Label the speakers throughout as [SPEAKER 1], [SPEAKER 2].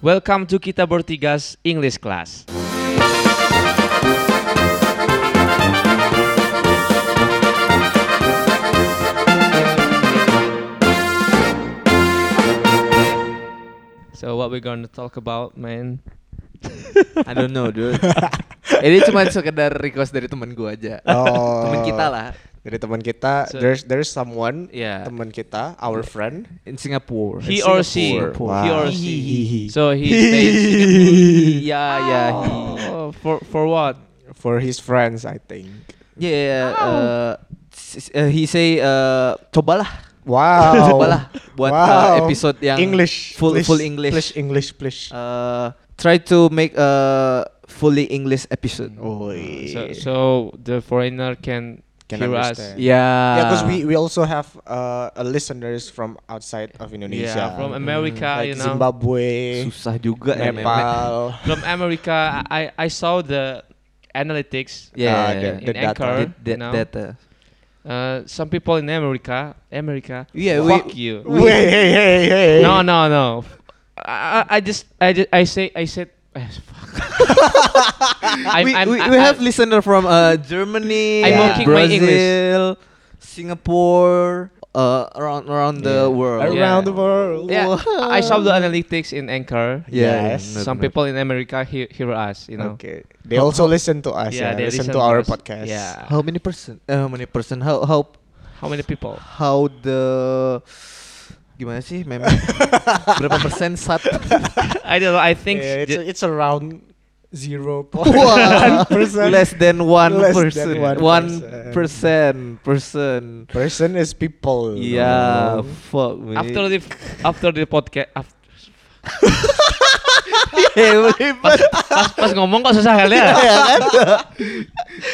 [SPEAKER 1] Welcome to Kita Bertiga's English class. So what we're going to talk about, man?
[SPEAKER 2] I don't know, dude. Ini cuma sekedar request dari temen gua aja.
[SPEAKER 3] Oh.
[SPEAKER 2] Temen kita lah.
[SPEAKER 3] Dari teman kita,
[SPEAKER 1] So-
[SPEAKER 3] there's there's someone
[SPEAKER 2] Yeah.
[SPEAKER 3] teman kita, our friend.
[SPEAKER 2] In Singapore.
[SPEAKER 1] He or she.
[SPEAKER 3] Singapore.
[SPEAKER 1] He
[SPEAKER 3] Wow.
[SPEAKER 1] or she.
[SPEAKER 3] He.
[SPEAKER 1] So he
[SPEAKER 2] He-
[SPEAKER 1] stays.
[SPEAKER 2] Ya, ya, he.
[SPEAKER 1] Oh, for for what?
[SPEAKER 3] For his friends, I think.
[SPEAKER 2] Yeah, uh, s- s- uh, he say uh, cobalah.
[SPEAKER 3] Wow.
[SPEAKER 2] Cobalah buat uh,
[SPEAKER 3] Wow.
[SPEAKER 2] episode yang
[SPEAKER 3] English,
[SPEAKER 2] full
[SPEAKER 3] please,
[SPEAKER 2] full English.
[SPEAKER 3] please English, please.
[SPEAKER 2] Uh, try to make a fully English episode.
[SPEAKER 3] Oi.
[SPEAKER 1] So, so the foreigner can,
[SPEAKER 3] Can
[SPEAKER 1] hear us.
[SPEAKER 3] understand.
[SPEAKER 2] Yeah.
[SPEAKER 3] yeah, because Ya, we we also have uh, a listeners from outside of Indonesia. Mm-hmm.
[SPEAKER 1] Yeah, from America,
[SPEAKER 3] like
[SPEAKER 1] you know,
[SPEAKER 3] Zimbabwe,
[SPEAKER 2] susah juga ya, memang.
[SPEAKER 3] Nepal.
[SPEAKER 1] from America. I I saw the analytics. uh,
[SPEAKER 2] Yeah,
[SPEAKER 3] Ah, the,
[SPEAKER 1] in
[SPEAKER 3] the
[SPEAKER 1] Anchor.
[SPEAKER 3] data.
[SPEAKER 2] That- that-
[SPEAKER 1] No.
[SPEAKER 2] that, uh,
[SPEAKER 1] Uh, some people in America, America.
[SPEAKER 2] Yeah, we-
[SPEAKER 1] fuck you.
[SPEAKER 3] Wait, hey, hey, hey.
[SPEAKER 1] No, no, no. I, I I just, I just, I say, I said. eh, fuck. I'm-
[SPEAKER 2] we,
[SPEAKER 1] I'm-
[SPEAKER 2] we,
[SPEAKER 1] I-
[SPEAKER 2] we
[SPEAKER 1] I-
[SPEAKER 2] have listener from uh, Germany,
[SPEAKER 1] I'm
[SPEAKER 2] uh,
[SPEAKER 1] mocking my English.
[SPEAKER 2] Brazil, Singapore, uh, around around the world.
[SPEAKER 3] Around
[SPEAKER 1] Yeah.
[SPEAKER 3] the world.
[SPEAKER 1] Yeah, I saw the analytics in Anchor.
[SPEAKER 3] Yes.
[SPEAKER 2] benar,
[SPEAKER 1] Some
[SPEAKER 2] benar.
[SPEAKER 1] people in America hear, hear us, you know.
[SPEAKER 3] Okay. They also listen to us. Yeah,
[SPEAKER 1] they
[SPEAKER 3] listen, to our
[SPEAKER 1] us.
[SPEAKER 3] podcast.
[SPEAKER 1] Yeah.
[SPEAKER 2] How many person? eh, how many person? How how
[SPEAKER 1] How many people?
[SPEAKER 2] how the gimana sih memang berapa persen sat?
[SPEAKER 1] I don't know. I think
[SPEAKER 3] Yeah, it's,
[SPEAKER 1] the-
[SPEAKER 3] it's around zero point
[SPEAKER 2] Wah,
[SPEAKER 3] percent.
[SPEAKER 2] less than one
[SPEAKER 3] Less than
[SPEAKER 2] person,
[SPEAKER 3] one
[SPEAKER 2] one
[SPEAKER 3] person.
[SPEAKER 2] percent person.
[SPEAKER 3] Person is people.
[SPEAKER 2] Yeah, fuck me.
[SPEAKER 1] after the after the podcast after, pas, pas,
[SPEAKER 2] Hebat.
[SPEAKER 1] pas ngomong kok susah kali ya.
[SPEAKER 2] Ya kan?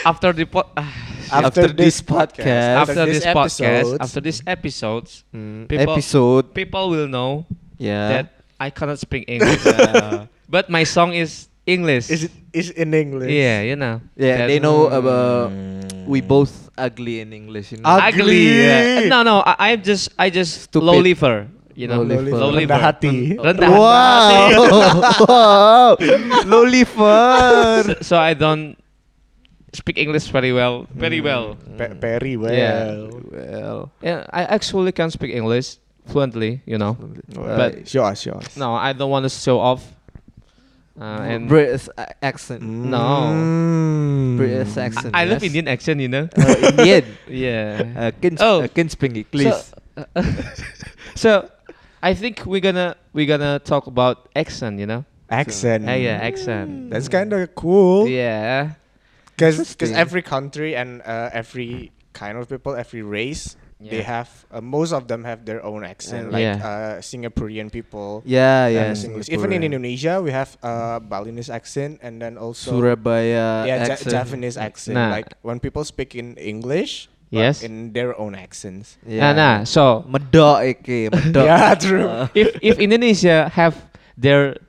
[SPEAKER 1] after the pod, ah,
[SPEAKER 2] After this podcast,
[SPEAKER 1] after this, podcast,
[SPEAKER 3] episode.
[SPEAKER 1] after this episodes,
[SPEAKER 2] Hmm,
[SPEAKER 1] People-
[SPEAKER 2] episode
[SPEAKER 1] people will know
[SPEAKER 2] Yeah.
[SPEAKER 1] that I cannot speak English. uh, but my song is English.
[SPEAKER 3] is it is in English.
[SPEAKER 1] Yeah, you know.
[SPEAKER 2] yeah,
[SPEAKER 1] that-
[SPEAKER 2] they know uh, about we both ugly in English. You know?
[SPEAKER 3] Mm. Ugly.
[SPEAKER 1] yeah. No, no. I, I'm just I just
[SPEAKER 2] Stupid.
[SPEAKER 1] low liver. You know,
[SPEAKER 2] Low liver.
[SPEAKER 1] Low liver.
[SPEAKER 3] Rendah hati.
[SPEAKER 1] Rendah hati.
[SPEAKER 2] Wow. wow. Low liver.
[SPEAKER 1] so, so I don't speak English very well. Very well.
[SPEAKER 3] Pe- very well.
[SPEAKER 1] Yeah.
[SPEAKER 2] Well.
[SPEAKER 1] Yeah, I actually can speak English fluently. You know.
[SPEAKER 3] Oh.
[SPEAKER 2] But
[SPEAKER 1] But-
[SPEAKER 3] Sure, sure.
[SPEAKER 1] No, I don't want to show off. Uh, and
[SPEAKER 2] British a- accent.
[SPEAKER 1] No.
[SPEAKER 3] Mm.
[SPEAKER 2] British accent.
[SPEAKER 1] I love
[SPEAKER 2] yes.
[SPEAKER 1] Indian accent, you know.
[SPEAKER 2] Uh, Indian.
[SPEAKER 1] yeah.
[SPEAKER 2] Uh, can
[SPEAKER 1] Oh.
[SPEAKER 2] oh. uh, can speak English.
[SPEAKER 1] so, I think we're gonna we're gonna talk about accent, you know.
[SPEAKER 3] Accent.
[SPEAKER 1] Uh, yeah, accent.
[SPEAKER 3] That's kind of cool.
[SPEAKER 1] Yeah.
[SPEAKER 3] Because
[SPEAKER 2] Interesting.
[SPEAKER 3] every country and uh, every kind of people, every race, they
[SPEAKER 1] Yeah.
[SPEAKER 3] have uh, most of them have their own accent.
[SPEAKER 1] And-
[SPEAKER 3] like
[SPEAKER 1] Yeah.
[SPEAKER 3] uh, Singaporean people.
[SPEAKER 2] yeah,
[SPEAKER 3] and
[SPEAKER 2] yeah.
[SPEAKER 3] Singlish. Even
[SPEAKER 2] Singaporean.
[SPEAKER 3] in Indonesia, we have uh, Balinese accent and then also
[SPEAKER 2] Surabaya
[SPEAKER 3] yeah, Ja-
[SPEAKER 2] accent.
[SPEAKER 3] Japanese accent.
[SPEAKER 1] Nah.
[SPEAKER 3] Like when people speak in English, but
[SPEAKER 1] Yes.
[SPEAKER 3] in their own accents.
[SPEAKER 1] Nah, nah. So
[SPEAKER 2] Medok iki, medok.
[SPEAKER 3] Yeah, true.
[SPEAKER 2] Uh,
[SPEAKER 1] if if Indonesia have their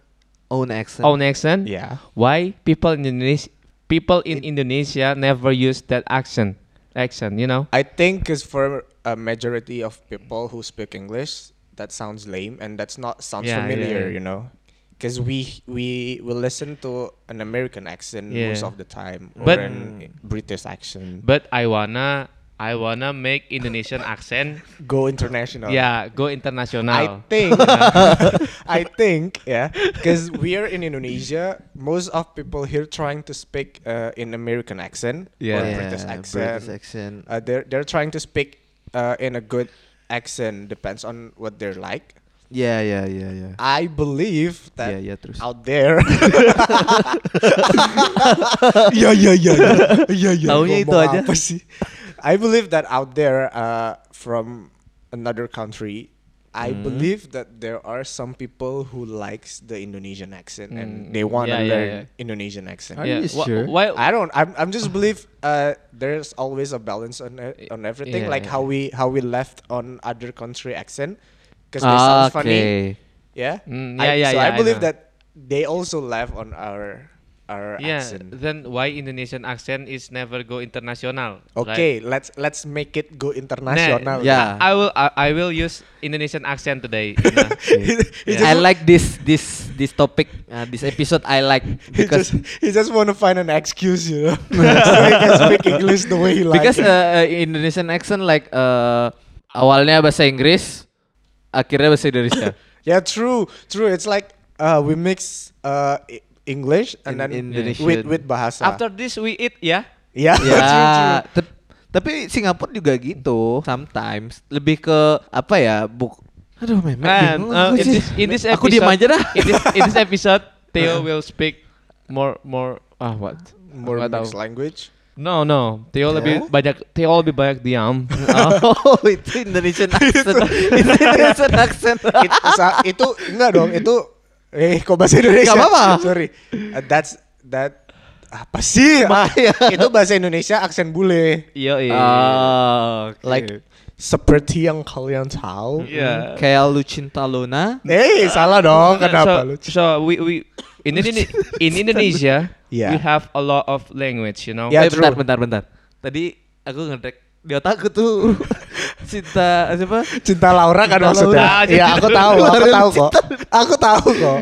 [SPEAKER 2] own accent.
[SPEAKER 1] own accent,
[SPEAKER 3] Yeah.
[SPEAKER 1] why people in Indonesia people in Indonesia never use that accent accent, you know?
[SPEAKER 3] I think is for a majority of people who speak English, that sounds lame and that's not sounds
[SPEAKER 1] Yeah,
[SPEAKER 3] familiar,
[SPEAKER 1] yeah.
[SPEAKER 3] you know. Because we we will listen to an American accent most
[SPEAKER 1] Yeah.
[SPEAKER 3] of the time, or
[SPEAKER 1] But-
[SPEAKER 3] an British accent.
[SPEAKER 1] But I wanna I wanna make Indonesian accent.
[SPEAKER 3] Go international.
[SPEAKER 1] Yeah, Ya, go international.
[SPEAKER 3] I think ya. I think yeah, because we are in Indonesia. Most of people here trying to speak uh, in American accent or
[SPEAKER 1] Yeah.
[SPEAKER 3] British
[SPEAKER 2] Yeah,
[SPEAKER 3] accent.
[SPEAKER 2] British accent.
[SPEAKER 3] Uh, they're they're trying to speak uh, in a good accent. Depends on what they're like.
[SPEAKER 2] Yeah, yeah, yeah, yeah.
[SPEAKER 3] I believe
[SPEAKER 2] yeah,
[SPEAKER 3] that
[SPEAKER 2] yeah, terus.
[SPEAKER 3] out there. yeah, yeah, yeah, yeah, yeah, yeah.
[SPEAKER 1] Oh,
[SPEAKER 2] Taunya itu
[SPEAKER 3] iya. Ngomong
[SPEAKER 2] aja.
[SPEAKER 3] apa sih? I believe that out there, uh, from another country, I
[SPEAKER 1] Mm-hmm.
[SPEAKER 3] believe that there are some people who likes the Indonesian accent and
[SPEAKER 1] Mm,
[SPEAKER 3] they want to
[SPEAKER 1] yeah, yeah,
[SPEAKER 3] learn
[SPEAKER 1] yeah.
[SPEAKER 3] Indonesian accent.
[SPEAKER 2] Are you
[SPEAKER 1] Wh-
[SPEAKER 2] sure?
[SPEAKER 1] Ya, Why?
[SPEAKER 3] I don't. I'm. I'm just believe. Uh, there's always a balance on e- on
[SPEAKER 1] Yeah,
[SPEAKER 3] everything. like
[SPEAKER 1] yeah.
[SPEAKER 3] how we how we left on other country accent because they
[SPEAKER 2] Ah,
[SPEAKER 3] sound funny. Yeah.
[SPEAKER 1] Mm,
[SPEAKER 3] I-
[SPEAKER 1] yeah, yeah,
[SPEAKER 3] So
[SPEAKER 1] yeah,
[SPEAKER 3] I
[SPEAKER 1] I
[SPEAKER 3] believe
[SPEAKER 1] know.
[SPEAKER 3] that they also laugh on our our
[SPEAKER 1] Yeah,
[SPEAKER 3] accent.
[SPEAKER 1] ya, then why Indonesian accent is never go international? Nah,
[SPEAKER 3] Okay, let's let's make it go international.
[SPEAKER 2] Yeah.
[SPEAKER 1] I, I will I, I will use Indonesian accent today. you know.
[SPEAKER 3] He
[SPEAKER 1] Yeah.
[SPEAKER 2] I
[SPEAKER 3] just-
[SPEAKER 2] like this this this topic uh, this episode I like
[SPEAKER 3] He
[SPEAKER 2] because
[SPEAKER 3] just he just want to find an excuse, you know, so he can speak English the way he likes.
[SPEAKER 2] because uh, uh, Indonesian accent like uh, awalnya bahasa Inggris akhirnya bahasa Indonesia.
[SPEAKER 3] yeah, true, true. It's like uh, we mix uh, I- English and
[SPEAKER 2] In-
[SPEAKER 3] then
[SPEAKER 2] Indonesian.
[SPEAKER 3] with with bahasa.
[SPEAKER 1] After this we eat ya.
[SPEAKER 3] yeah, true, true.
[SPEAKER 2] ya, tep- tapi Singapura juga gitu sometimes lebih ke apa ya buk Aduh, memang
[SPEAKER 1] Man,
[SPEAKER 2] bingung
[SPEAKER 1] uh,
[SPEAKER 2] aku
[SPEAKER 1] in
[SPEAKER 2] sih.
[SPEAKER 1] this in this episode,
[SPEAKER 2] aku diam aja dah.
[SPEAKER 1] in this in this episode Theo will speak more more ah what?
[SPEAKER 3] More
[SPEAKER 1] Nggak
[SPEAKER 3] mixed
[SPEAKER 1] tahu.
[SPEAKER 3] language.
[SPEAKER 1] No no, Theo lebih banyak Theo lebih banyak diam.
[SPEAKER 2] oh, itu Indonesian accent. itu Indonesian accent.
[SPEAKER 3] It- sa- itu enggak dong, itu eh kok bahasa Indonesia?
[SPEAKER 2] Nggak apa-apa.
[SPEAKER 3] Sorry. Uh, that's that apa sih?
[SPEAKER 2] Maya.
[SPEAKER 3] itu bahasa Indonesia aksen bule.
[SPEAKER 1] Iya iya.
[SPEAKER 2] Ah, oke.
[SPEAKER 3] Like seperti yang kalian tahu.
[SPEAKER 1] Iya.
[SPEAKER 2] kayak lu cinta Luna.
[SPEAKER 3] Eh, salah dong.
[SPEAKER 1] so,
[SPEAKER 3] Kenapa lu?
[SPEAKER 1] so we we in Indone- in Indonesia we
[SPEAKER 3] Yeah.
[SPEAKER 1] have a lot of language, you know.
[SPEAKER 2] Eh,
[SPEAKER 3] Yeah. Ya, true.
[SPEAKER 2] bentar, bentar, bentar. Tadi aku ngedrek di otakku tuh cinta siapa?
[SPEAKER 3] Cinta Laura
[SPEAKER 1] Laura.
[SPEAKER 2] Cinta
[SPEAKER 3] kan maksudnya. Iya, aku tahu, aku tahu kok. Aku tahu kok.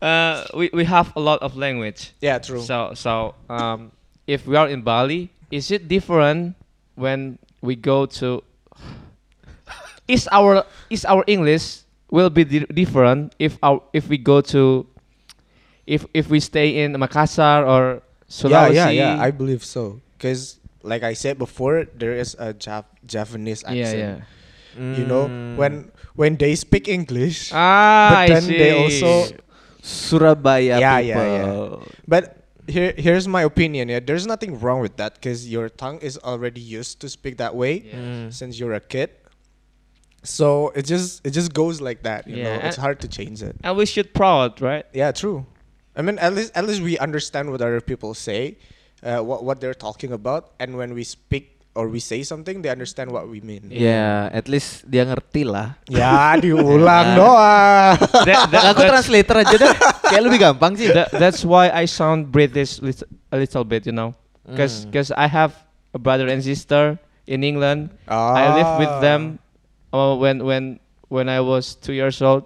[SPEAKER 1] Uh, we we have a lot of language.
[SPEAKER 3] Ya, true.
[SPEAKER 1] So so um, if we are in Bali, is it different when we go to? Is our is our English will be di- different if our if we go to, if if we stay in Makassar or
[SPEAKER 3] Yeah,
[SPEAKER 1] Sulawesi?
[SPEAKER 3] yeah, yeah. I believe so. Cause like I said before, there is a Jap- Japanese accent.
[SPEAKER 1] yeah, yeah.
[SPEAKER 3] You know,
[SPEAKER 2] Hmm,
[SPEAKER 1] Hmm.
[SPEAKER 3] when when they speak English,
[SPEAKER 1] Ah,
[SPEAKER 3] but
[SPEAKER 1] I
[SPEAKER 3] then
[SPEAKER 1] see.
[SPEAKER 3] they also
[SPEAKER 2] Surabaya
[SPEAKER 3] Yeah, yeah,
[SPEAKER 2] people.
[SPEAKER 3] But here, here's my opinion. Yeah, there's nothing wrong with that because your tongue is already used to speak that way
[SPEAKER 1] Yeah.
[SPEAKER 2] Mm.
[SPEAKER 3] since you're a kid. So it just it just goes like that. You
[SPEAKER 1] Yeah,
[SPEAKER 3] know, it's
[SPEAKER 1] and-
[SPEAKER 3] hard to change it.
[SPEAKER 1] and we should proud, right?
[SPEAKER 3] Yeah, true. I mean, at least at least we understand what other people say, uh, what what they're talking about, and when we speak or we say something, they understand what we mean.
[SPEAKER 2] Ya, at least dia ngerti lah.
[SPEAKER 3] Ya, diulang doang.
[SPEAKER 1] That- that-
[SPEAKER 2] aku
[SPEAKER 1] that's-
[SPEAKER 2] translator aja deh. Kayak lebih gampang sih.
[SPEAKER 1] Tha- that's why I sound British lit- a little bit, you know, because
[SPEAKER 2] Mm.
[SPEAKER 1] I have a brother and sister in England. I lived
[SPEAKER 3] Ah.
[SPEAKER 1] with them uh, when when when I was two years old.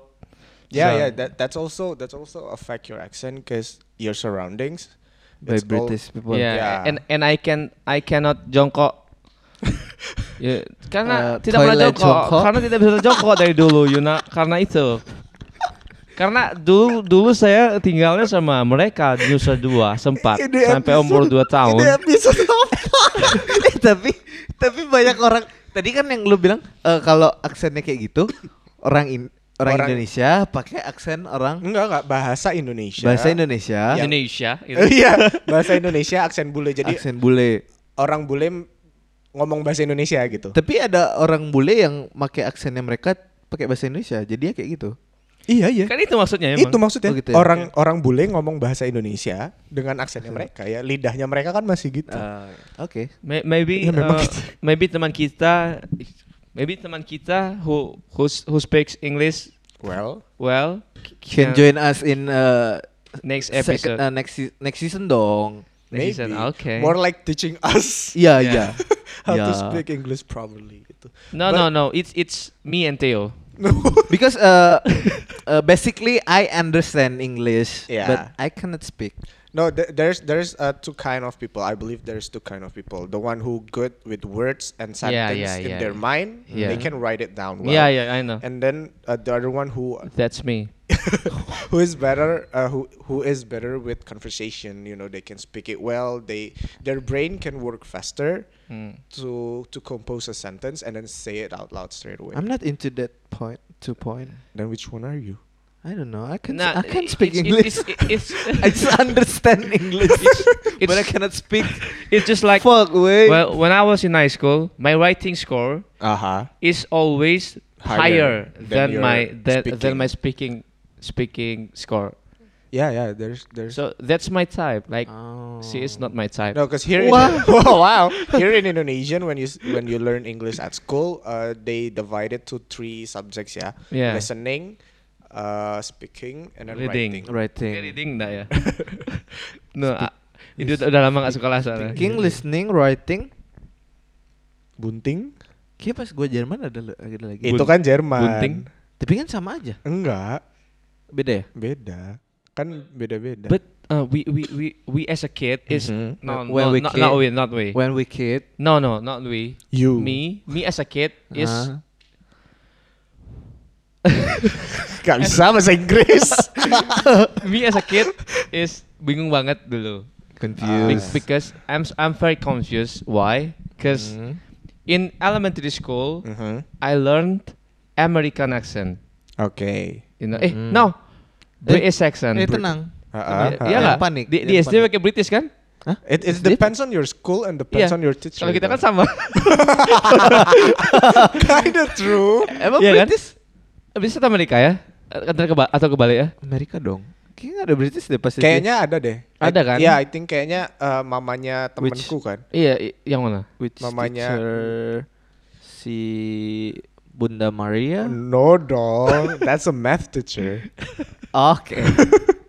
[SPEAKER 3] Yeah,
[SPEAKER 1] So-
[SPEAKER 3] yeah. That that's also that's also affect your accent because your surroundings.
[SPEAKER 2] By
[SPEAKER 3] it's all-
[SPEAKER 2] British people.
[SPEAKER 1] yeah,
[SPEAKER 3] Yeah.
[SPEAKER 1] and and I can I cannot jongkok. Ya, karena
[SPEAKER 2] Eh,
[SPEAKER 1] tidak pernah
[SPEAKER 2] toilet
[SPEAKER 1] jongkok,
[SPEAKER 2] jongkok.
[SPEAKER 1] karena tidak bisa jongkok dari dulu, Yuna. Karena itu, karena dulu dulu saya tinggalnya sama mereka di Nusa Dua sempat
[SPEAKER 3] Ini
[SPEAKER 1] sampai umur 2 tahun.
[SPEAKER 3] Ini episode apa?
[SPEAKER 2] Eh, tapi tapi banyak orang tadi kan yang lu bilang eh, kalau aksennya kayak gitu orang in- orang,
[SPEAKER 3] Orang-
[SPEAKER 2] Indonesia pakai aksen orang
[SPEAKER 3] Enggak enggak bahasa Indonesia.
[SPEAKER 2] bahasa Indonesia
[SPEAKER 3] Iya.
[SPEAKER 1] Indonesia, gitu.
[SPEAKER 3] Iya, bahasa Indonesia aksen bule. Jadi
[SPEAKER 2] aksen bule.
[SPEAKER 3] orang bule m- ngomong bahasa Indonesia gitu.
[SPEAKER 2] Tapi ada orang bule yang pakai aksennya mereka pakai bahasa Indonesia. Jadi ya kayak gitu.
[SPEAKER 3] Iya, iya.
[SPEAKER 1] kan itu maksudnya emang.
[SPEAKER 3] Itu maksudnya
[SPEAKER 2] Oh, gitu ya?
[SPEAKER 3] orang orang bule ngomong bahasa Indonesia dengan aksennya mereka ya. Lidahnya mereka kan masih gitu.
[SPEAKER 2] Ah. Oke.
[SPEAKER 1] Ah, May- maybe
[SPEAKER 3] Ya, memang
[SPEAKER 1] uh,
[SPEAKER 3] gitu.
[SPEAKER 1] maybe teman kita maybe teman kita who who who speaks English
[SPEAKER 3] well,
[SPEAKER 1] well
[SPEAKER 2] Can
[SPEAKER 3] Iya.
[SPEAKER 1] can
[SPEAKER 2] join us in uh,
[SPEAKER 1] next episode.
[SPEAKER 2] second- uh, next se- next season dong.
[SPEAKER 1] Next
[SPEAKER 3] maybe.
[SPEAKER 1] season, okay.
[SPEAKER 3] More like teaching us
[SPEAKER 2] Iya,
[SPEAKER 1] Yeah.
[SPEAKER 2] iya.
[SPEAKER 3] how to
[SPEAKER 2] Yeah.
[SPEAKER 3] speak English properly gitu.
[SPEAKER 1] no no no, it's it's me and Theo.
[SPEAKER 2] Because uh, uh, basically I understand English
[SPEAKER 3] Yeah.
[SPEAKER 2] but I cannot speak.
[SPEAKER 3] No, th- there's there's uh, two kind of people. I believe there's two kind of people. The one who good with words and
[SPEAKER 1] Yeah,
[SPEAKER 3] sentence
[SPEAKER 1] yeah,
[SPEAKER 3] in
[SPEAKER 1] yeah.
[SPEAKER 3] their mind,
[SPEAKER 1] Yeah.
[SPEAKER 3] they can write it down well.
[SPEAKER 1] yeah yeah, I know.
[SPEAKER 3] Oh, And then uh, the other one who
[SPEAKER 1] That's me.
[SPEAKER 3] who is better uh, who who is better with conversation, you know, they can speak it well. They their brain can work faster
[SPEAKER 1] Hmm.
[SPEAKER 3] to to compose a sentence and then say it out loud straight away.
[SPEAKER 2] I'm not into that point two point.
[SPEAKER 3] then which one are you?
[SPEAKER 2] I don't know. I can
[SPEAKER 1] Nah,
[SPEAKER 2] I can
[SPEAKER 1] it's-
[SPEAKER 2] speak
[SPEAKER 1] it's-
[SPEAKER 2] English.
[SPEAKER 1] it's- it's-
[SPEAKER 2] I just understand English, but I
[SPEAKER 1] it's-
[SPEAKER 2] cannot speak.
[SPEAKER 1] It's just like
[SPEAKER 2] Fuck way.
[SPEAKER 1] well, when I was in high school, my writing score
[SPEAKER 3] Uh-huh.
[SPEAKER 1] is always
[SPEAKER 3] Higher
[SPEAKER 1] higher,
[SPEAKER 3] than
[SPEAKER 1] than,
[SPEAKER 3] your
[SPEAKER 1] my than, than
[SPEAKER 3] speaking.
[SPEAKER 1] my speaking speaking score.
[SPEAKER 3] Yeah, yeah, there's there's
[SPEAKER 1] So that's my type. Like
[SPEAKER 3] Ah.
[SPEAKER 2] Oh.
[SPEAKER 1] she is not my type.
[SPEAKER 3] Hmm. No, because here,
[SPEAKER 2] Wow.
[SPEAKER 3] In, oh, wow, here in Indonesian, when you s- when you learn English at school, uh, they divide it to three subjects. Yeah,
[SPEAKER 1] Yeah.
[SPEAKER 3] listening, uh, speaking and then
[SPEAKER 1] Reading.
[SPEAKER 3] writing.
[SPEAKER 2] Writing.
[SPEAKER 1] Editing enggak ya? no, ah, itu udah lama gak suka lasan.
[SPEAKER 2] Thinking, listening, writing.
[SPEAKER 3] Bunting?
[SPEAKER 2] Kayaknya pas gue Jerman ada, le- ada lagi.
[SPEAKER 3] Itu
[SPEAKER 1] Bun-
[SPEAKER 3] kan Jerman.
[SPEAKER 1] bunting.
[SPEAKER 2] Tapi kan sama aja.
[SPEAKER 3] Enggak,
[SPEAKER 2] Beda ya?
[SPEAKER 3] beda. Kan beda-beda.
[SPEAKER 1] But uh, we we we we as a kid is
[SPEAKER 3] Mhm.
[SPEAKER 1] no no
[SPEAKER 2] When we
[SPEAKER 1] not,
[SPEAKER 2] kid-
[SPEAKER 1] not we not we
[SPEAKER 2] When we kid.
[SPEAKER 1] no no not we
[SPEAKER 3] you Uh-huh.
[SPEAKER 1] me me as a kid is
[SPEAKER 2] ah.
[SPEAKER 3] gak bisa bahasa Inggris.
[SPEAKER 1] me as a kid is bingung banget dulu Be-
[SPEAKER 2] confused.
[SPEAKER 1] because I'm s- I'm very confused why because
[SPEAKER 3] Mm-hmm.
[SPEAKER 2] Hmm.
[SPEAKER 1] in elementary school
[SPEAKER 3] Mhm.
[SPEAKER 1] I learned American accent
[SPEAKER 3] Oke.
[SPEAKER 1] you know eh
[SPEAKER 2] Mhm.
[SPEAKER 1] no
[SPEAKER 2] Then-
[SPEAKER 1] British accent
[SPEAKER 2] Eh tenang.
[SPEAKER 3] Ah,
[SPEAKER 1] Iya-
[SPEAKER 3] ah,
[SPEAKER 1] Iya
[SPEAKER 3] ah.
[SPEAKER 1] nggak?
[SPEAKER 2] Jangan panik,
[SPEAKER 1] Di, di
[SPEAKER 2] jangan
[SPEAKER 1] SD
[SPEAKER 2] panik.
[SPEAKER 1] pakai British kan?
[SPEAKER 2] Hah?
[SPEAKER 3] It, it
[SPEAKER 2] It's
[SPEAKER 3] depends on your school and depends
[SPEAKER 1] Iya.
[SPEAKER 3] on your teacher.
[SPEAKER 1] Kalau kita kan sama.
[SPEAKER 3] kind of true.
[SPEAKER 2] Emang
[SPEAKER 1] Iya kan?
[SPEAKER 2] British?
[SPEAKER 1] Bisa sama Amerika ya? Atau keba- atau kebalik ya?
[SPEAKER 2] Amerika dong. Kayaknya nggak ada British deh pasti.
[SPEAKER 3] Kayaknya ada deh.
[SPEAKER 1] Ada
[SPEAKER 3] I-
[SPEAKER 1] kan?
[SPEAKER 3] Iya, I think kayaknya eh, mamanya
[SPEAKER 2] Which-
[SPEAKER 3] temanku kan.
[SPEAKER 1] Iya, i- yang mana?
[SPEAKER 2] Which
[SPEAKER 3] Mamanya-
[SPEAKER 2] teacher si Bunda Maria?
[SPEAKER 3] No dong, that's a math teacher.
[SPEAKER 2] Oke.
[SPEAKER 1] I-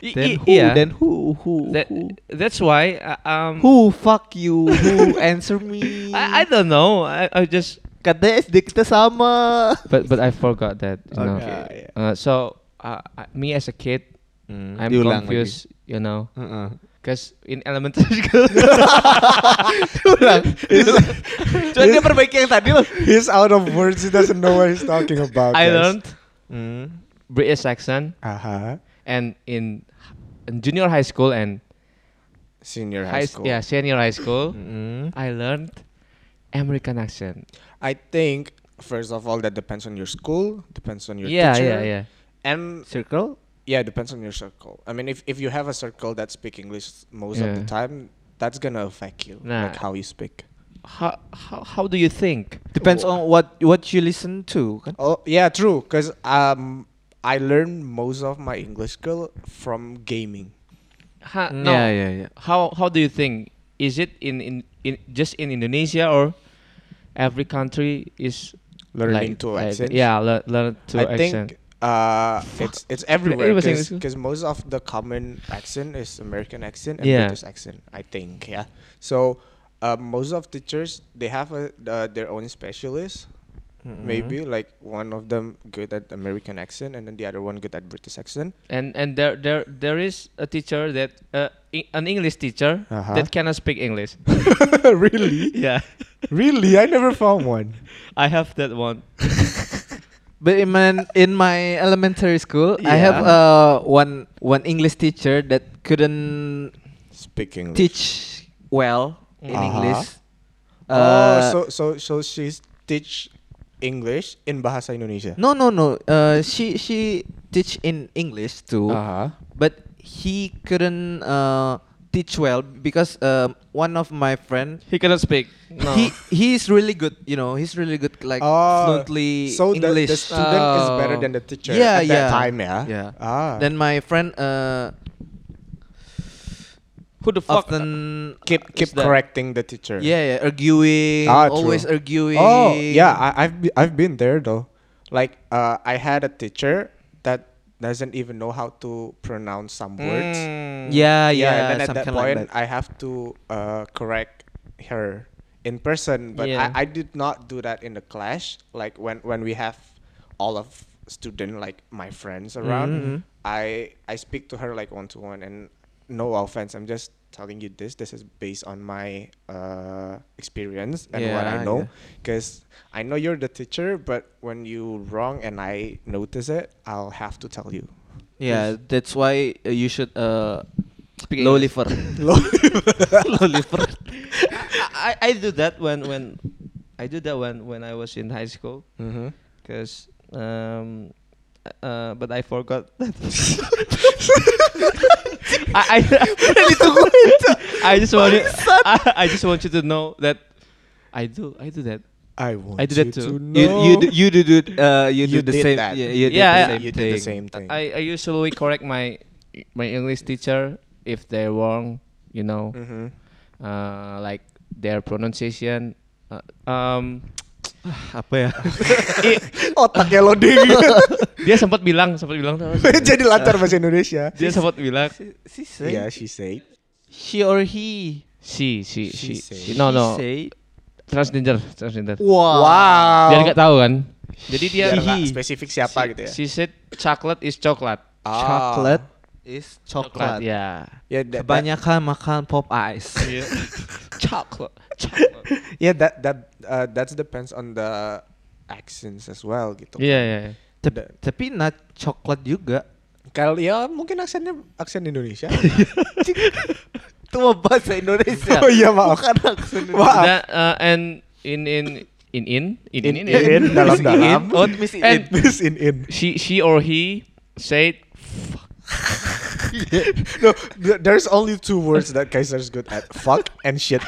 [SPEAKER 2] Then
[SPEAKER 1] i- iya.
[SPEAKER 2] who? Then who? Who?
[SPEAKER 1] That-
[SPEAKER 2] who?
[SPEAKER 1] that's why uh, um
[SPEAKER 2] Who fuck you? Who answer me?
[SPEAKER 1] I, I don't know. I, I just
[SPEAKER 2] Katanya SD kita sama.
[SPEAKER 1] but but I forgot that. You know.
[SPEAKER 2] Okay.
[SPEAKER 3] Yeah, yeah.
[SPEAKER 1] Uh, so uh, I- me as a kid, I'm
[SPEAKER 2] diulang Hmm.
[SPEAKER 1] confused, you know,
[SPEAKER 2] lagi. Heeh.
[SPEAKER 1] because in elementary school,
[SPEAKER 2] Diulang. Diulang. Cuma dia perbaiki yang tadi loh.
[SPEAKER 3] He's out of words. He doesn't know what he's talking about.
[SPEAKER 1] I
[SPEAKER 3] guys.
[SPEAKER 1] learned
[SPEAKER 3] Hmm.
[SPEAKER 1] British accent,
[SPEAKER 3] Aha.
[SPEAKER 1] and in, in junior high school and
[SPEAKER 3] Senior
[SPEAKER 1] high
[SPEAKER 3] high
[SPEAKER 1] s-
[SPEAKER 3] school.
[SPEAKER 1] yeah senior high school,
[SPEAKER 2] Mm.
[SPEAKER 1] I learned American accent.
[SPEAKER 3] I think first of all that depends on your school, depends on your
[SPEAKER 1] yeah,
[SPEAKER 3] teacher,
[SPEAKER 1] yeah, yeah.
[SPEAKER 3] and
[SPEAKER 2] Circle.
[SPEAKER 3] yeah, depends on your circle. I mean, if if you have a circle that speak English most of
[SPEAKER 1] Yeah.
[SPEAKER 3] the time, that's gonna affect you,
[SPEAKER 1] Nah.
[SPEAKER 3] like how you speak.
[SPEAKER 1] How how how do you think?
[SPEAKER 2] Depends on what what you listen to kan.
[SPEAKER 3] Oh yeah, true. Cause um, I learned most of my English skill from gaming.
[SPEAKER 1] Ha, Uh,
[SPEAKER 2] Mm,
[SPEAKER 1] no.
[SPEAKER 2] yeah, yeah, yeah.
[SPEAKER 1] How how do you think? Is it in in, in just in Indonesia or every country is
[SPEAKER 3] Learning
[SPEAKER 1] like,
[SPEAKER 3] to
[SPEAKER 1] like-
[SPEAKER 3] accent.
[SPEAKER 1] Yeah, learn learn to
[SPEAKER 3] I
[SPEAKER 1] accent.
[SPEAKER 3] think uh,
[SPEAKER 1] Fuck.
[SPEAKER 3] it's it's
[SPEAKER 1] It
[SPEAKER 3] everywhere
[SPEAKER 1] was English.
[SPEAKER 3] because most of the common accent is American accent and
[SPEAKER 1] Yeah.
[SPEAKER 3] British accent. I think yeah. So uh, most of teachers they have a, uh, their own specialist.
[SPEAKER 1] Mm-hmm.
[SPEAKER 3] Maybe like one of them good at American accent and then the other one good at British accent.
[SPEAKER 1] and and there there there is a teacher that uh, I- an English teacher
[SPEAKER 3] Uh-huh.
[SPEAKER 1] that cannot speak English.
[SPEAKER 3] really,
[SPEAKER 1] yeah,
[SPEAKER 3] really, I never found one.
[SPEAKER 1] I have that one.
[SPEAKER 2] But in my, in my elementary school, I
[SPEAKER 1] Yeah.
[SPEAKER 2] have uh, one one English teacher that couldn't
[SPEAKER 3] Speaking.
[SPEAKER 2] teach well in
[SPEAKER 3] Uh-huh.
[SPEAKER 2] English.
[SPEAKER 3] oh,
[SPEAKER 2] Uh,
[SPEAKER 3] so so so she's teach English in bahasa Indonesia.
[SPEAKER 2] no no no. Uh, she she teach in English too,
[SPEAKER 3] Uh-huh.
[SPEAKER 2] but he couldn't uh, teach well because um, one of my friend.
[SPEAKER 1] He cannot speak. No.
[SPEAKER 2] He he is really good, you know. He's really good, like fluently
[SPEAKER 3] Ah, Oh. so the-
[SPEAKER 2] English.
[SPEAKER 3] The, student is better
[SPEAKER 1] Oh.
[SPEAKER 3] than the teacher
[SPEAKER 2] Yeah,
[SPEAKER 3] at
[SPEAKER 2] yeah.
[SPEAKER 3] that time, yeah.
[SPEAKER 2] Yeah.
[SPEAKER 3] Ah.
[SPEAKER 2] Then my friend uh,
[SPEAKER 1] Who the fuck? uh,
[SPEAKER 2] often
[SPEAKER 3] keep keep
[SPEAKER 1] is that-
[SPEAKER 3] correcting the teacher.
[SPEAKER 2] Yeah, yeah, arguing,
[SPEAKER 3] Ah, true.
[SPEAKER 2] always arguing.
[SPEAKER 3] Oh yeah, I, I've be- I've been there though. Like uh, I had a teacher that doesn't even know how to pronounce some words.
[SPEAKER 2] Ah, yeah, yeah,
[SPEAKER 3] and then at that
[SPEAKER 2] something
[SPEAKER 3] point,
[SPEAKER 2] like that.
[SPEAKER 3] I have to uh, correct her in person. But
[SPEAKER 1] Yeah.
[SPEAKER 3] I, I did not do that in the clash. Like when when we have all of student like my friends around,
[SPEAKER 2] Mhm.
[SPEAKER 3] I I speak to her like one to one. And no offense, I'm just telling you this. This is based on my uh, experience and what
[SPEAKER 2] Yeah,
[SPEAKER 3] I know.
[SPEAKER 2] yeah.
[SPEAKER 3] Because I know you're the teacher, but when you wrong and I notice it, I'll have to tell you.
[SPEAKER 2] yeah, that's why uh, you should uh,
[SPEAKER 1] Speak
[SPEAKER 2] low
[SPEAKER 1] English.
[SPEAKER 2] liver,
[SPEAKER 3] Low
[SPEAKER 2] low liver.
[SPEAKER 1] I, I I do that when when I do that when when I was in high school.
[SPEAKER 3] Mm-hmm.
[SPEAKER 1] Cause um, uh, but I forgot. That. I I I just want you, I, I just want you to know that I do I do that.
[SPEAKER 3] I want
[SPEAKER 1] I did that
[SPEAKER 3] you
[SPEAKER 1] too.
[SPEAKER 3] to
[SPEAKER 2] You you do,
[SPEAKER 3] know.
[SPEAKER 2] you do, do uh, you, do
[SPEAKER 3] You
[SPEAKER 2] the
[SPEAKER 3] did
[SPEAKER 2] same.
[SPEAKER 3] that.
[SPEAKER 2] Yeah, you did
[SPEAKER 1] Yeah,
[SPEAKER 2] the
[SPEAKER 1] yeah.
[SPEAKER 2] same
[SPEAKER 3] You
[SPEAKER 2] thing.
[SPEAKER 3] did the same thing.
[SPEAKER 1] I, I usually correct my my English teacher if they're wrong. You
[SPEAKER 3] Mm.
[SPEAKER 1] know,
[SPEAKER 3] mm-hmm.
[SPEAKER 1] uh, like their pronunciation. Uh, um,
[SPEAKER 2] apa ya?
[SPEAKER 3] Otaknya loading.
[SPEAKER 1] Dia sempat bilang, sempat bilang tuh.
[SPEAKER 3] Jadi latar bahasa Indonesia.
[SPEAKER 1] Dia sempat bilang
[SPEAKER 2] She said.
[SPEAKER 3] Yeah, she said.
[SPEAKER 2] She or he.
[SPEAKER 1] si si si.
[SPEAKER 3] She said.
[SPEAKER 1] si- No no.
[SPEAKER 2] She said.
[SPEAKER 1] Transgender, transgender.
[SPEAKER 2] Wow.
[SPEAKER 3] Wow.
[SPEAKER 1] Jadi nggak tahu kan? Jadi dia
[SPEAKER 3] Biar nggak
[SPEAKER 1] He.
[SPEAKER 3] spesifik siapa gitu ya.
[SPEAKER 1] She said chocolate is coklat.
[SPEAKER 3] Ah.
[SPEAKER 2] Chocolate is
[SPEAKER 1] Coklat
[SPEAKER 2] chocolate.
[SPEAKER 1] ya.
[SPEAKER 3] Yeah, that, that-
[SPEAKER 2] Kebanyakan makan pop ice.
[SPEAKER 3] Iya.
[SPEAKER 1] Chocolate. Chocolate.
[SPEAKER 3] yeah, that that uh, that depends on the accents as well gitu.
[SPEAKER 1] Iya iya. iya.
[SPEAKER 2] Tep- tapi not coklat juga.
[SPEAKER 3] Kalau ya mungkin aksennya aksen Indonesia.
[SPEAKER 2] Itu mah bahasa Indonesia.
[SPEAKER 3] oh iya maaf.
[SPEAKER 2] Bukan aksen
[SPEAKER 3] Maaf.
[SPEAKER 1] That, uh, and in in in in in in in,
[SPEAKER 3] in, in, dalam dalam.
[SPEAKER 2] Oh, miss in.
[SPEAKER 1] And-
[SPEAKER 3] This in in.
[SPEAKER 1] She she or he said
[SPEAKER 3] No, th- there's only two words that Kaiser's good at: fuck and shit.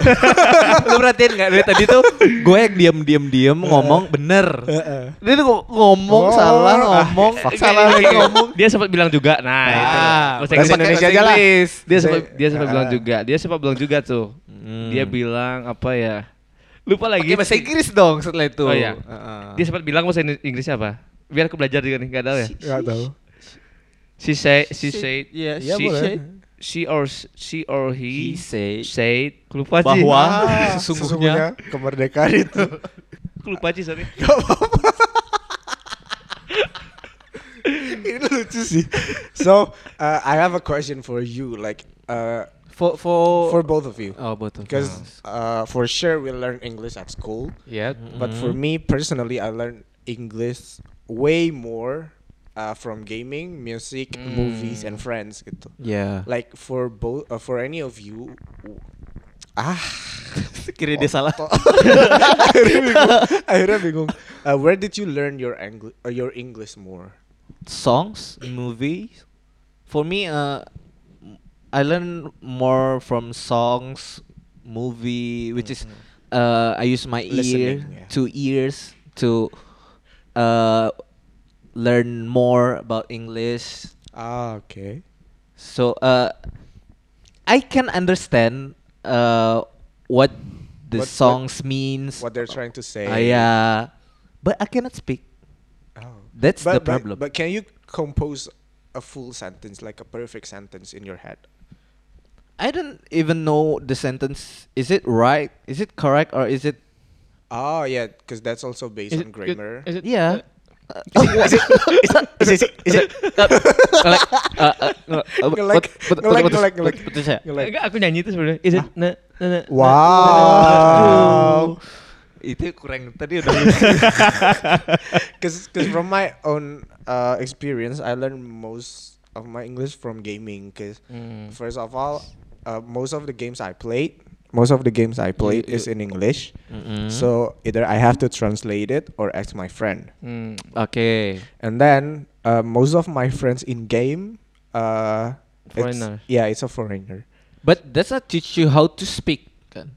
[SPEAKER 2] Lu perhatiin gak dari tadi tuh gue yang diem-diem-diem ngomong bener. Dia tuh ngo- ngomong
[SPEAKER 3] Oh,
[SPEAKER 2] salah,
[SPEAKER 3] ah,
[SPEAKER 2] ngomong salah Ah, lagi ngomong.
[SPEAKER 1] Dia sempat bilang juga. Nah, itu. Bahasa
[SPEAKER 3] Ah, bahasa
[SPEAKER 1] Inggris.
[SPEAKER 3] Indonesia aja lah.
[SPEAKER 1] Dia sempat dia sempat
[SPEAKER 3] Ah.
[SPEAKER 1] bilang juga. Dia sempat bilang juga tuh.
[SPEAKER 2] Hmm.
[SPEAKER 1] Dia bilang apa ya? Lupa lagi.
[SPEAKER 2] Pakai bahasa Inggris dong setelah itu. Ah.
[SPEAKER 1] Oh, iya.
[SPEAKER 2] Heeh.
[SPEAKER 1] Dia sempat bilang bahasa Ing- Inggrisnya apa? Biar aku belajar juga nih, enggak tahu ya.
[SPEAKER 3] Gak tahu.
[SPEAKER 1] She say she said
[SPEAKER 2] Iya,
[SPEAKER 3] Iya,
[SPEAKER 2] she
[SPEAKER 3] boleh.
[SPEAKER 2] said.
[SPEAKER 1] she or she or he
[SPEAKER 2] He said.
[SPEAKER 1] said Aku lupa sih.
[SPEAKER 2] Bahwa- Sesungguhnya-
[SPEAKER 3] Ah, sesungguhnya kemerdekaan itu.
[SPEAKER 1] Aku lupa sih sorry.
[SPEAKER 3] Ini lucu sih. So uh, I have a question for you, like uh,
[SPEAKER 2] For for
[SPEAKER 3] for both of you,
[SPEAKER 2] Oh, betul.
[SPEAKER 3] because uh, for sure we learn English at school,
[SPEAKER 1] Ya.
[SPEAKER 3] but for
[SPEAKER 2] Mm-hmm.
[SPEAKER 3] me personally, I learned English way more uh, from gaming, music,
[SPEAKER 2] Mm.
[SPEAKER 3] movies, and friends. Gitu.
[SPEAKER 2] Ya.
[SPEAKER 3] Like for both, uh, for any of you, ah,
[SPEAKER 2] Kira dia salah.
[SPEAKER 3] akhirnya bingung. akhirnya bingung. Uh, where did you learn your English, uh, your English more?
[SPEAKER 2] songs, movies. For me, uh, I learn more from songs, movie, which is uh, I use my ear,
[SPEAKER 3] Mm-hmm. Listening, yeah.
[SPEAKER 2] two ears to uh, learn more about English.
[SPEAKER 3] Ah, okay.
[SPEAKER 2] So uh, I can understand uh, what the
[SPEAKER 3] What- what-
[SPEAKER 2] songs means.
[SPEAKER 3] What they're trying to say.
[SPEAKER 2] Ah, yeah, but I cannot speak.
[SPEAKER 3] Oh.
[SPEAKER 2] That's
[SPEAKER 3] but,
[SPEAKER 2] the
[SPEAKER 3] but-
[SPEAKER 2] problem.
[SPEAKER 3] But, can you compose a full sentence, like a perfect sentence in your head?
[SPEAKER 2] I don't even know the sentence. Is it right? Is it correct or is it?
[SPEAKER 3] Oh yeah, because that's also based on grammar.
[SPEAKER 1] Is it,
[SPEAKER 2] Yeah. Uh,
[SPEAKER 3] Is it- is it- is it- is it-
[SPEAKER 2] Ngelek, uh, uh, nge- uh, what-
[SPEAKER 3] Ngelek,
[SPEAKER 2] what-
[SPEAKER 3] ngelek,
[SPEAKER 2] what-
[SPEAKER 3] ngelek,
[SPEAKER 2] what-
[SPEAKER 3] ngelek.
[SPEAKER 2] what is that?
[SPEAKER 3] You're like,
[SPEAKER 1] enggak aku nyanyi itu sebenarnya. Is it na, na, na, na-
[SPEAKER 2] Oh.
[SPEAKER 3] Wow.
[SPEAKER 2] Itu kurang tadi udah.
[SPEAKER 3] Because from my own uh, experience, I learned most of my English from gaming. Because
[SPEAKER 2] Mm-hmm.
[SPEAKER 1] Hmm.
[SPEAKER 3] first of all, uh, most of the games I played, most of the games I played is in English.
[SPEAKER 2] Mm-hmm.
[SPEAKER 3] So either I have to translate it or ask my friend.
[SPEAKER 1] Hmm.
[SPEAKER 2] Oke.
[SPEAKER 3] And then uh, most of my friends in game, uh, it's-
[SPEAKER 1] Foreigner.
[SPEAKER 3] yeah, it's a foreigner.
[SPEAKER 2] But that's not teach you how to speak kan?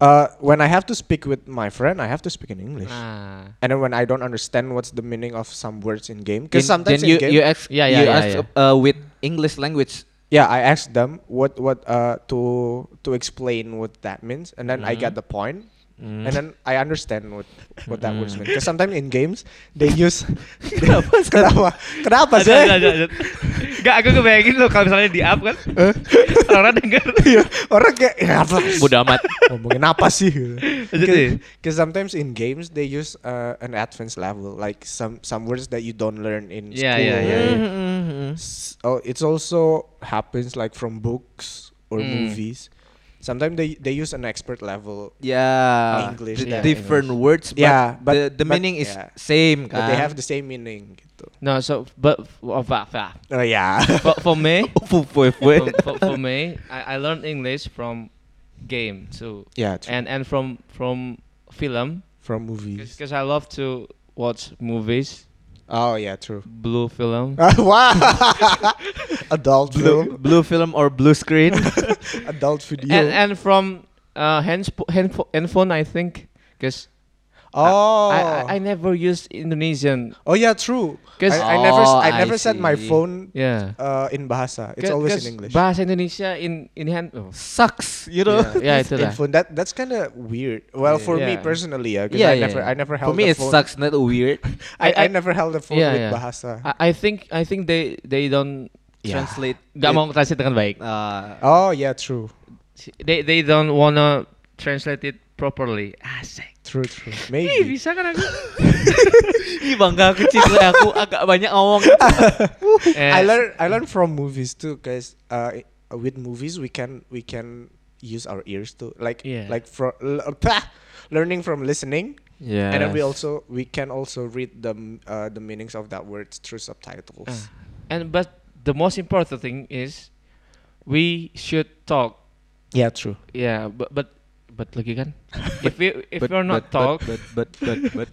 [SPEAKER 3] Uh, when I have to speak with my friend, I have to speak in English.
[SPEAKER 1] Nah.
[SPEAKER 3] And then when I don't understand what's the meaning of some words in game,
[SPEAKER 2] Then-
[SPEAKER 3] because sometimes
[SPEAKER 2] then you
[SPEAKER 3] in game,
[SPEAKER 2] you ask
[SPEAKER 1] Yeah, yeah,
[SPEAKER 2] you
[SPEAKER 1] yeah,
[SPEAKER 2] ask
[SPEAKER 1] yeah.
[SPEAKER 2] uh, with English language.
[SPEAKER 3] yeah, I ask them what what uh to to explain what that means, and then I get the point,
[SPEAKER 1] Mm-hmm.
[SPEAKER 3] and then I understand what what that words mean. Because sometimes in games they use kenapa kenapa kenapa
[SPEAKER 1] Ada,
[SPEAKER 3] sih?
[SPEAKER 1] ada, ada, ada. Enggak aku kebayangin loh kalau misalnya di up kan. Orang denger.
[SPEAKER 3] Iya, orang kayak "Ya, apa sih?
[SPEAKER 2] Bodoh amat.
[SPEAKER 3] ngomongin apa sih?
[SPEAKER 1] Jadi-
[SPEAKER 3] Because sometimes in games they use uh, an advanced level, like some some words that you don't learn in
[SPEAKER 1] Yeah,
[SPEAKER 3] school.
[SPEAKER 1] yeah, yeah, yeah.
[SPEAKER 2] Mm-hmm,
[SPEAKER 3] S- Oh, it's also happens like from books or
[SPEAKER 1] Mm.
[SPEAKER 3] movies. Sometimes they they use an expert level,
[SPEAKER 2] Yeah.
[SPEAKER 3] English,
[SPEAKER 2] the
[SPEAKER 3] yeah,
[SPEAKER 2] different words. But
[SPEAKER 3] Yeah, but-
[SPEAKER 2] the, the
[SPEAKER 3] but-
[SPEAKER 2] meaning is
[SPEAKER 3] yeah.
[SPEAKER 2] same kan?
[SPEAKER 3] but
[SPEAKER 1] Ah.
[SPEAKER 3] they have the same meaning. Gitu.
[SPEAKER 1] No, so but oh, fa- fa-
[SPEAKER 3] Oh yeah.
[SPEAKER 1] for, for me,
[SPEAKER 2] Fufuefue.
[SPEAKER 1] for, for, for me, I, I learned English from game too,
[SPEAKER 3] yeah. True.
[SPEAKER 1] and and from from film
[SPEAKER 3] from movies.
[SPEAKER 1] because I love to watch movies,
[SPEAKER 3] Oh yeah, true.
[SPEAKER 1] blue film.
[SPEAKER 2] Uh,
[SPEAKER 3] wow. adult
[SPEAKER 2] blue,
[SPEAKER 3] film,
[SPEAKER 2] blue film or blue screen.
[SPEAKER 3] adult video.
[SPEAKER 1] and and from uh, hands handphone, handphone I think because
[SPEAKER 3] Oh.
[SPEAKER 1] I, I, I never used Indonesian.
[SPEAKER 3] oh yeah, true. I,
[SPEAKER 1] 'Cause-
[SPEAKER 3] I never s-
[SPEAKER 2] Oh,
[SPEAKER 3] I
[SPEAKER 2] I
[SPEAKER 3] never set my
[SPEAKER 2] see.
[SPEAKER 3] phone
[SPEAKER 1] Yeah.
[SPEAKER 3] uh, in bahasa. It's
[SPEAKER 1] Ca-
[SPEAKER 3] always
[SPEAKER 1] 'cause
[SPEAKER 3] in English.
[SPEAKER 1] Bahasa Indonesia in in hand. oh.
[SPEAKER 2] sucks, you know.
[SPEAKER 3] Yeah.
[SPEAKER 1] Yeah, itulah.
[SPEAKER 3] Info- That that's kind of weird. Well,
[SPEAKER 2] Yeah.
[SPEAKER 3] for me
[SPEAKER 1] Yeah.
[SPEAKER 3] personally, yeah, 'cause
[SPEAKER 2] Yeah,
[SPEAKER 3] I
[SPEAKER 2] yeah,
[SPEAKER 3] never
[SPEAKER 2] yeah.
[SPEAKER 3] I never held
[SPEAKER 2] For me,
[SPEAKER 3] a
[SPEAKER 2] it
[SPEAKER 3] phone.
[SPEAKER 2] sucks. Not weird.
[SPEAKER 3] I, I,
[SPEAKER 1] I- I-
[SPEAKER 3] never held a phone
[SPEAKER 1] Yeah,
[SPEAKER 3] with
[SPEAKER 1] yeah.
[SPEAKER 3] bahasa.
[SPEAKER 1] I, I think I think they they don't
[SPEAKER 2] Yeah.
[SPEAKER 1] translate.
[SPEAKER 2] Translate.
[SPEAKER 1] Gak mau translate dengan baik.
[SPEAKER 2] Uh,
[SPEAKER 3] oh yeah, true,
[SPEAKER 1] They they don't wanna translate it properly. Asik.
[SPEAKER 3] true, true.
[SPEAKER 1] Ih,
[SPEAKER 3] Maybe.
[SPEAKER 1] bisa kan aku?
[SPEAKER 2] Ih bangga aku Cis, lah. aku agak banyak ngomong.
[SPEAKER 1] Eh,
[SPEAKER 3] I learn I learn from movies too, guys. Uh, i- with movies we can we can use our ears too, like
[SPEAKER 1] Yeah.
[SPEAKER 3] like from learning from listening,
[SPEAKER 2] Yeah.
[SPEAKER 3] and then we also we can also read the m- uh, the meanings of that words through subtitles.
[SPEAKER 1] Ah. And but the most important thing is we should talk.
[SPEAKER 3] Yeah, true.
[SPEAKER 1] Yeah, but but but lagi kan? if we if
[SPEAKER 2] But-
[SPEAKER 1] we're not
[SPEAKER 2] but-
[SPEAKER 1] talk,
[SPEAKER 2] But but but but.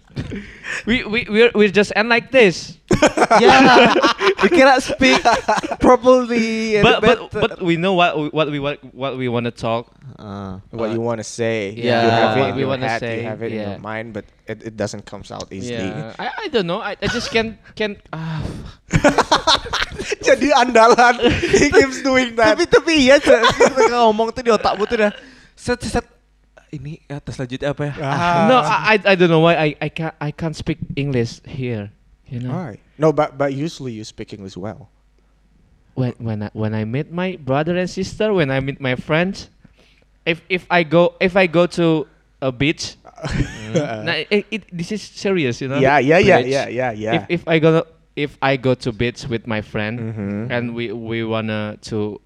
[SPEAKER 2] but-
[SPEAKER 1] we we we're, we're just end like this.
[SPEAKER 2] yeah, we cannot speak properly. and
[SPEAKER 1] but but
[SPEAKER 2] better.
[SPEAKER 1] but we know what we, what we what, what we want to talk.
[SPEAKER 2] Uh,
[SPEAKER 3] What you want to say, you
[SPEAKER 2] yeah,
[SPEAKER 3] have it
[SPEAKER 2] what
[SPEAKER 3] in
[SPEAKER 2] we
[SPEAKER 3] your
[SPEAKER 1] wanna
[SPEAKER 3] head,
[SPEAKER 1] say,
[SPEAKER 3] you have it in
[SPEAKER 1] yeah.
[SPEAKER 3] your mind, but it, it doesn't comes out easily.
[SPEAKER 1] Yeah, I, I don't know. I, I just can can. ah,
[SPEAKER 3] Jadi andalan, he keeps doing that.
[SPEAKER 2] tapi tapi iya Cak. Kita ngomong tuh di otakmu tuh udah set set set. ini atas selanjutnya apa ya
[SPEAKER 3] Ah.
[SPEAKER 1] no, I I- I don't know why I I can't I can't speak English here. You know,
[SPEAKER 3] Why? No, but but usually you speak English well.
[SPEAKER 1] when when I, when I meet my brother and sister, when I meet my friends, if if I go if I go to a beach, Mm. nah, it, it, this is serious. You know.
[SPEAKER 3] yeah, yeah, yeah,
[SPEAKER 2] Bridge.
[SPEAKER 3] yeah, yeah, yeah.
[SPEAKER 1] If if I go if I go to beach with my friend
[SPEAKER 3] Mhm.
[SPEAKER 1] and we we wanna to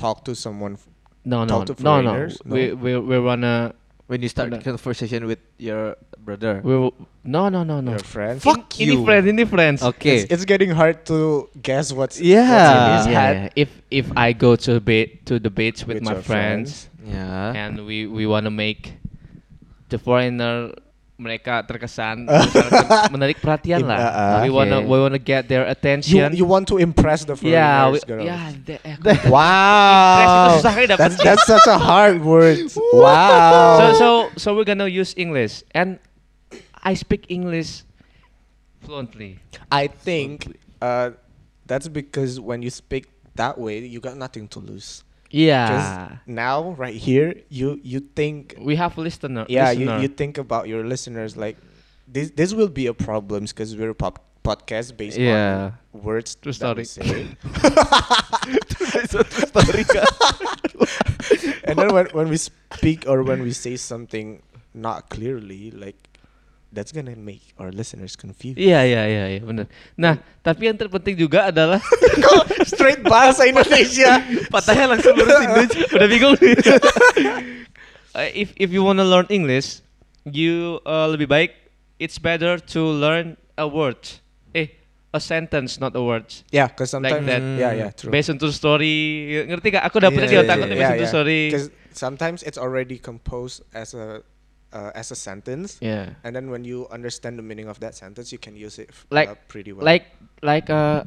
[SPEAKER 3] talk to someone. f-
[SPEAKER 1] no no
[SPEAKER 3] Talk to
[SPEAKER 1] no no
[SPEAKER 3] foreigners?
[SPEAKER 1] we
[SPEAKER 3] No.
[SPEAKER 1] we we wanna
[SPEAKER 2] when you start
[SPEAKER 1] Udah.
[SPEAKER 2] conversation with your brother
[SPEAKER 1] we will- no no no no
[SPEAKER 3] Your friends.
[SPEAKER 2] Fuck
[SPEAKER 1] In- Ini
[SPEAKER 2] you.
[SPEAKER 1] friends, ini friends.
[SPEAKER 2] Okay.
[SPEAKER 3] It's, it's getting hard to guess what's
[SPEAKER 2] Yeah.
[SPEAKER 3] what's in his
[SPEAKER 1] Yeah,
[SPEAKER 3] head
[SPEAKER 1] yeah. If if I go to be to the beach with, my
[SPEAKER 3] your
[SPEAKER 1] friends,
[SPEAKER 2] yeah
[SPEAKER 1] and we we wanna make the foreigner mereka terkesan misalkan menarik perhatian
[SPEAKER 3] In-
[SPEAKER 1] lah.
[SPEAKER 3] uh, uh,
[SPEAKER 1] we wanna
[SPEAKER 2] okay.
[SPEAKER 1] we wanna get their
[SPEAKER 3] You,
[SPEAKER 1] attention.
[SPEAKER 3] you want to impress the foreigners,
[SPEAKER 1] yeah, we,
[SPEAKER 3] girls.
[SPEAKER 1] yeah. the- eh,
[SPEAKER 2] wow
[SPEAKER 1] Impress itu susah kali
[SPEAKER 3] That's
[SPEAKER 1] dapet.
[SPEAKER 3] that's such a hard word.
[SPEAKER 1] so
[SPEAKER 2] wow
[SPEAKER 1] so so we're gonna use English and I speak English fluently.
[SPEAKER 3] I think uh, that's because when you speak that way, you got nothing to lose. 'Cause
[SPEAKER 1] Yeah. Uh,
[SPEAKER 3] Now, right here, you you think
[SPEAKER 1] We have listener.
[SPEAKER 3] yeah
[SPEAKER 1] listener.
[SPEAKER 3] you, you think about your listeners like this this will be a problem because we're a pop- podcast based
[SPEAKER 2] Yeah.
[SPEAKER 3] on words
[SPEAKER 1] True
[SPEAKER 3] that we
[SPEAKER 1] story.
[SPEAKER 3] say.
[SPEAKER 2] story kan?
[SPEAKER 3] and then when, when we speak or when we say something not clearly like that's gonna make our listeners confused
[SPEAKER 1] Iya iya iya iya benar. Nah, tapi yang terpenting juga adalah
[SPEAKER 3] straight bahasa Indonesia
[SPEAKER 2] patahnya langsung lurus Indo
[SPEAKER 1] udah bingung. nih. Uh, if if you wanna learn English, you uh, lebih baik it's better to learn a word. Eh, a sentence not a word.
[SPEAKER 3] yeah because sometimes Mm,
[SPEAKER 1] that.
[SPEAKER 3] yeah yeah Eh, true
[SPEAKER 1] Based on true story. Ngerti gak? Aku dapetnya
[SPEAKER 2] Iya,
[SPEAKER 1] di otak
[SPEAKER 2] iya,
[SPEAKER 1] aku tuh
[SPEAKER 2] iya.
[SPEAKER 1] based on true story.
[SPEAKER 3] because sometimes it's already composed as a uh, as a sentence
[SPEAKER 1] Yeah.
[SPEAKER 3] and then when you understand the meaning of that sentence you can use it f-
[SPEAKER 1] Like-
[SPEAKER 3] uh, pretty well
[SPEAKER 1] Like like uh,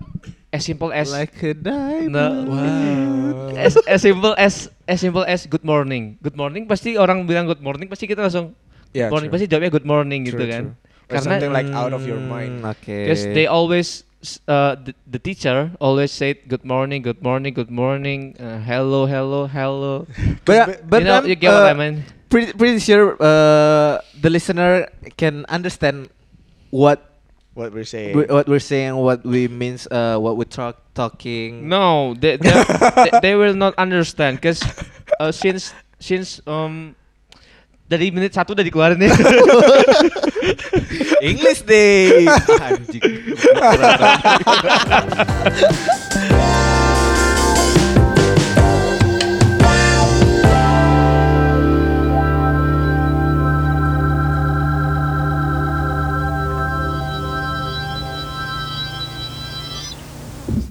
[SPEAKER 1] as simple as
[SPEAKER 2] like a diamond
[SPEAKER 1] No. as, as simple as as simple as good morning. Good morning pasti orang bilang good morning pasti kita langsung
[SPEAKER 3] Yeah,
[SPEAKER 1] good morning
[SPEAKER 3] true.
[SPEAKER 1] pasti jawabnya good morning gitu
[SPEAKER 3] True,
[SPEAKER 1] kan.
[SPEAKER 3] true. Or something like out of your mind.
[SPEAKER 2] Hmm, okay
[SPEAKER 1] Because they always s- uh, the, the teacher always said good morning, good morning, good morning, uh, hello, hello, hello.
[SPEAKER 2] but, but
[SPEAKER 1] you know,
[SPEAKER 2] I'm,
[SPEAKER 1] you get what I
[SPEAKER 2] uh,
[SPEAKER 1] mean?
[SPEAKER 2] pretty, pretty sure uh, the listener can understand what
[SPEAKER 3] what we're saying
[SPEAKER 2] we, what we're saying, what we means, uh, what we talk talking.
[SPEAKER 1] No, they they, they- they will not understand because uh, since since um dari menit satu udah dikeluarin nih.
[SPEAKER 2] English day. Anjing.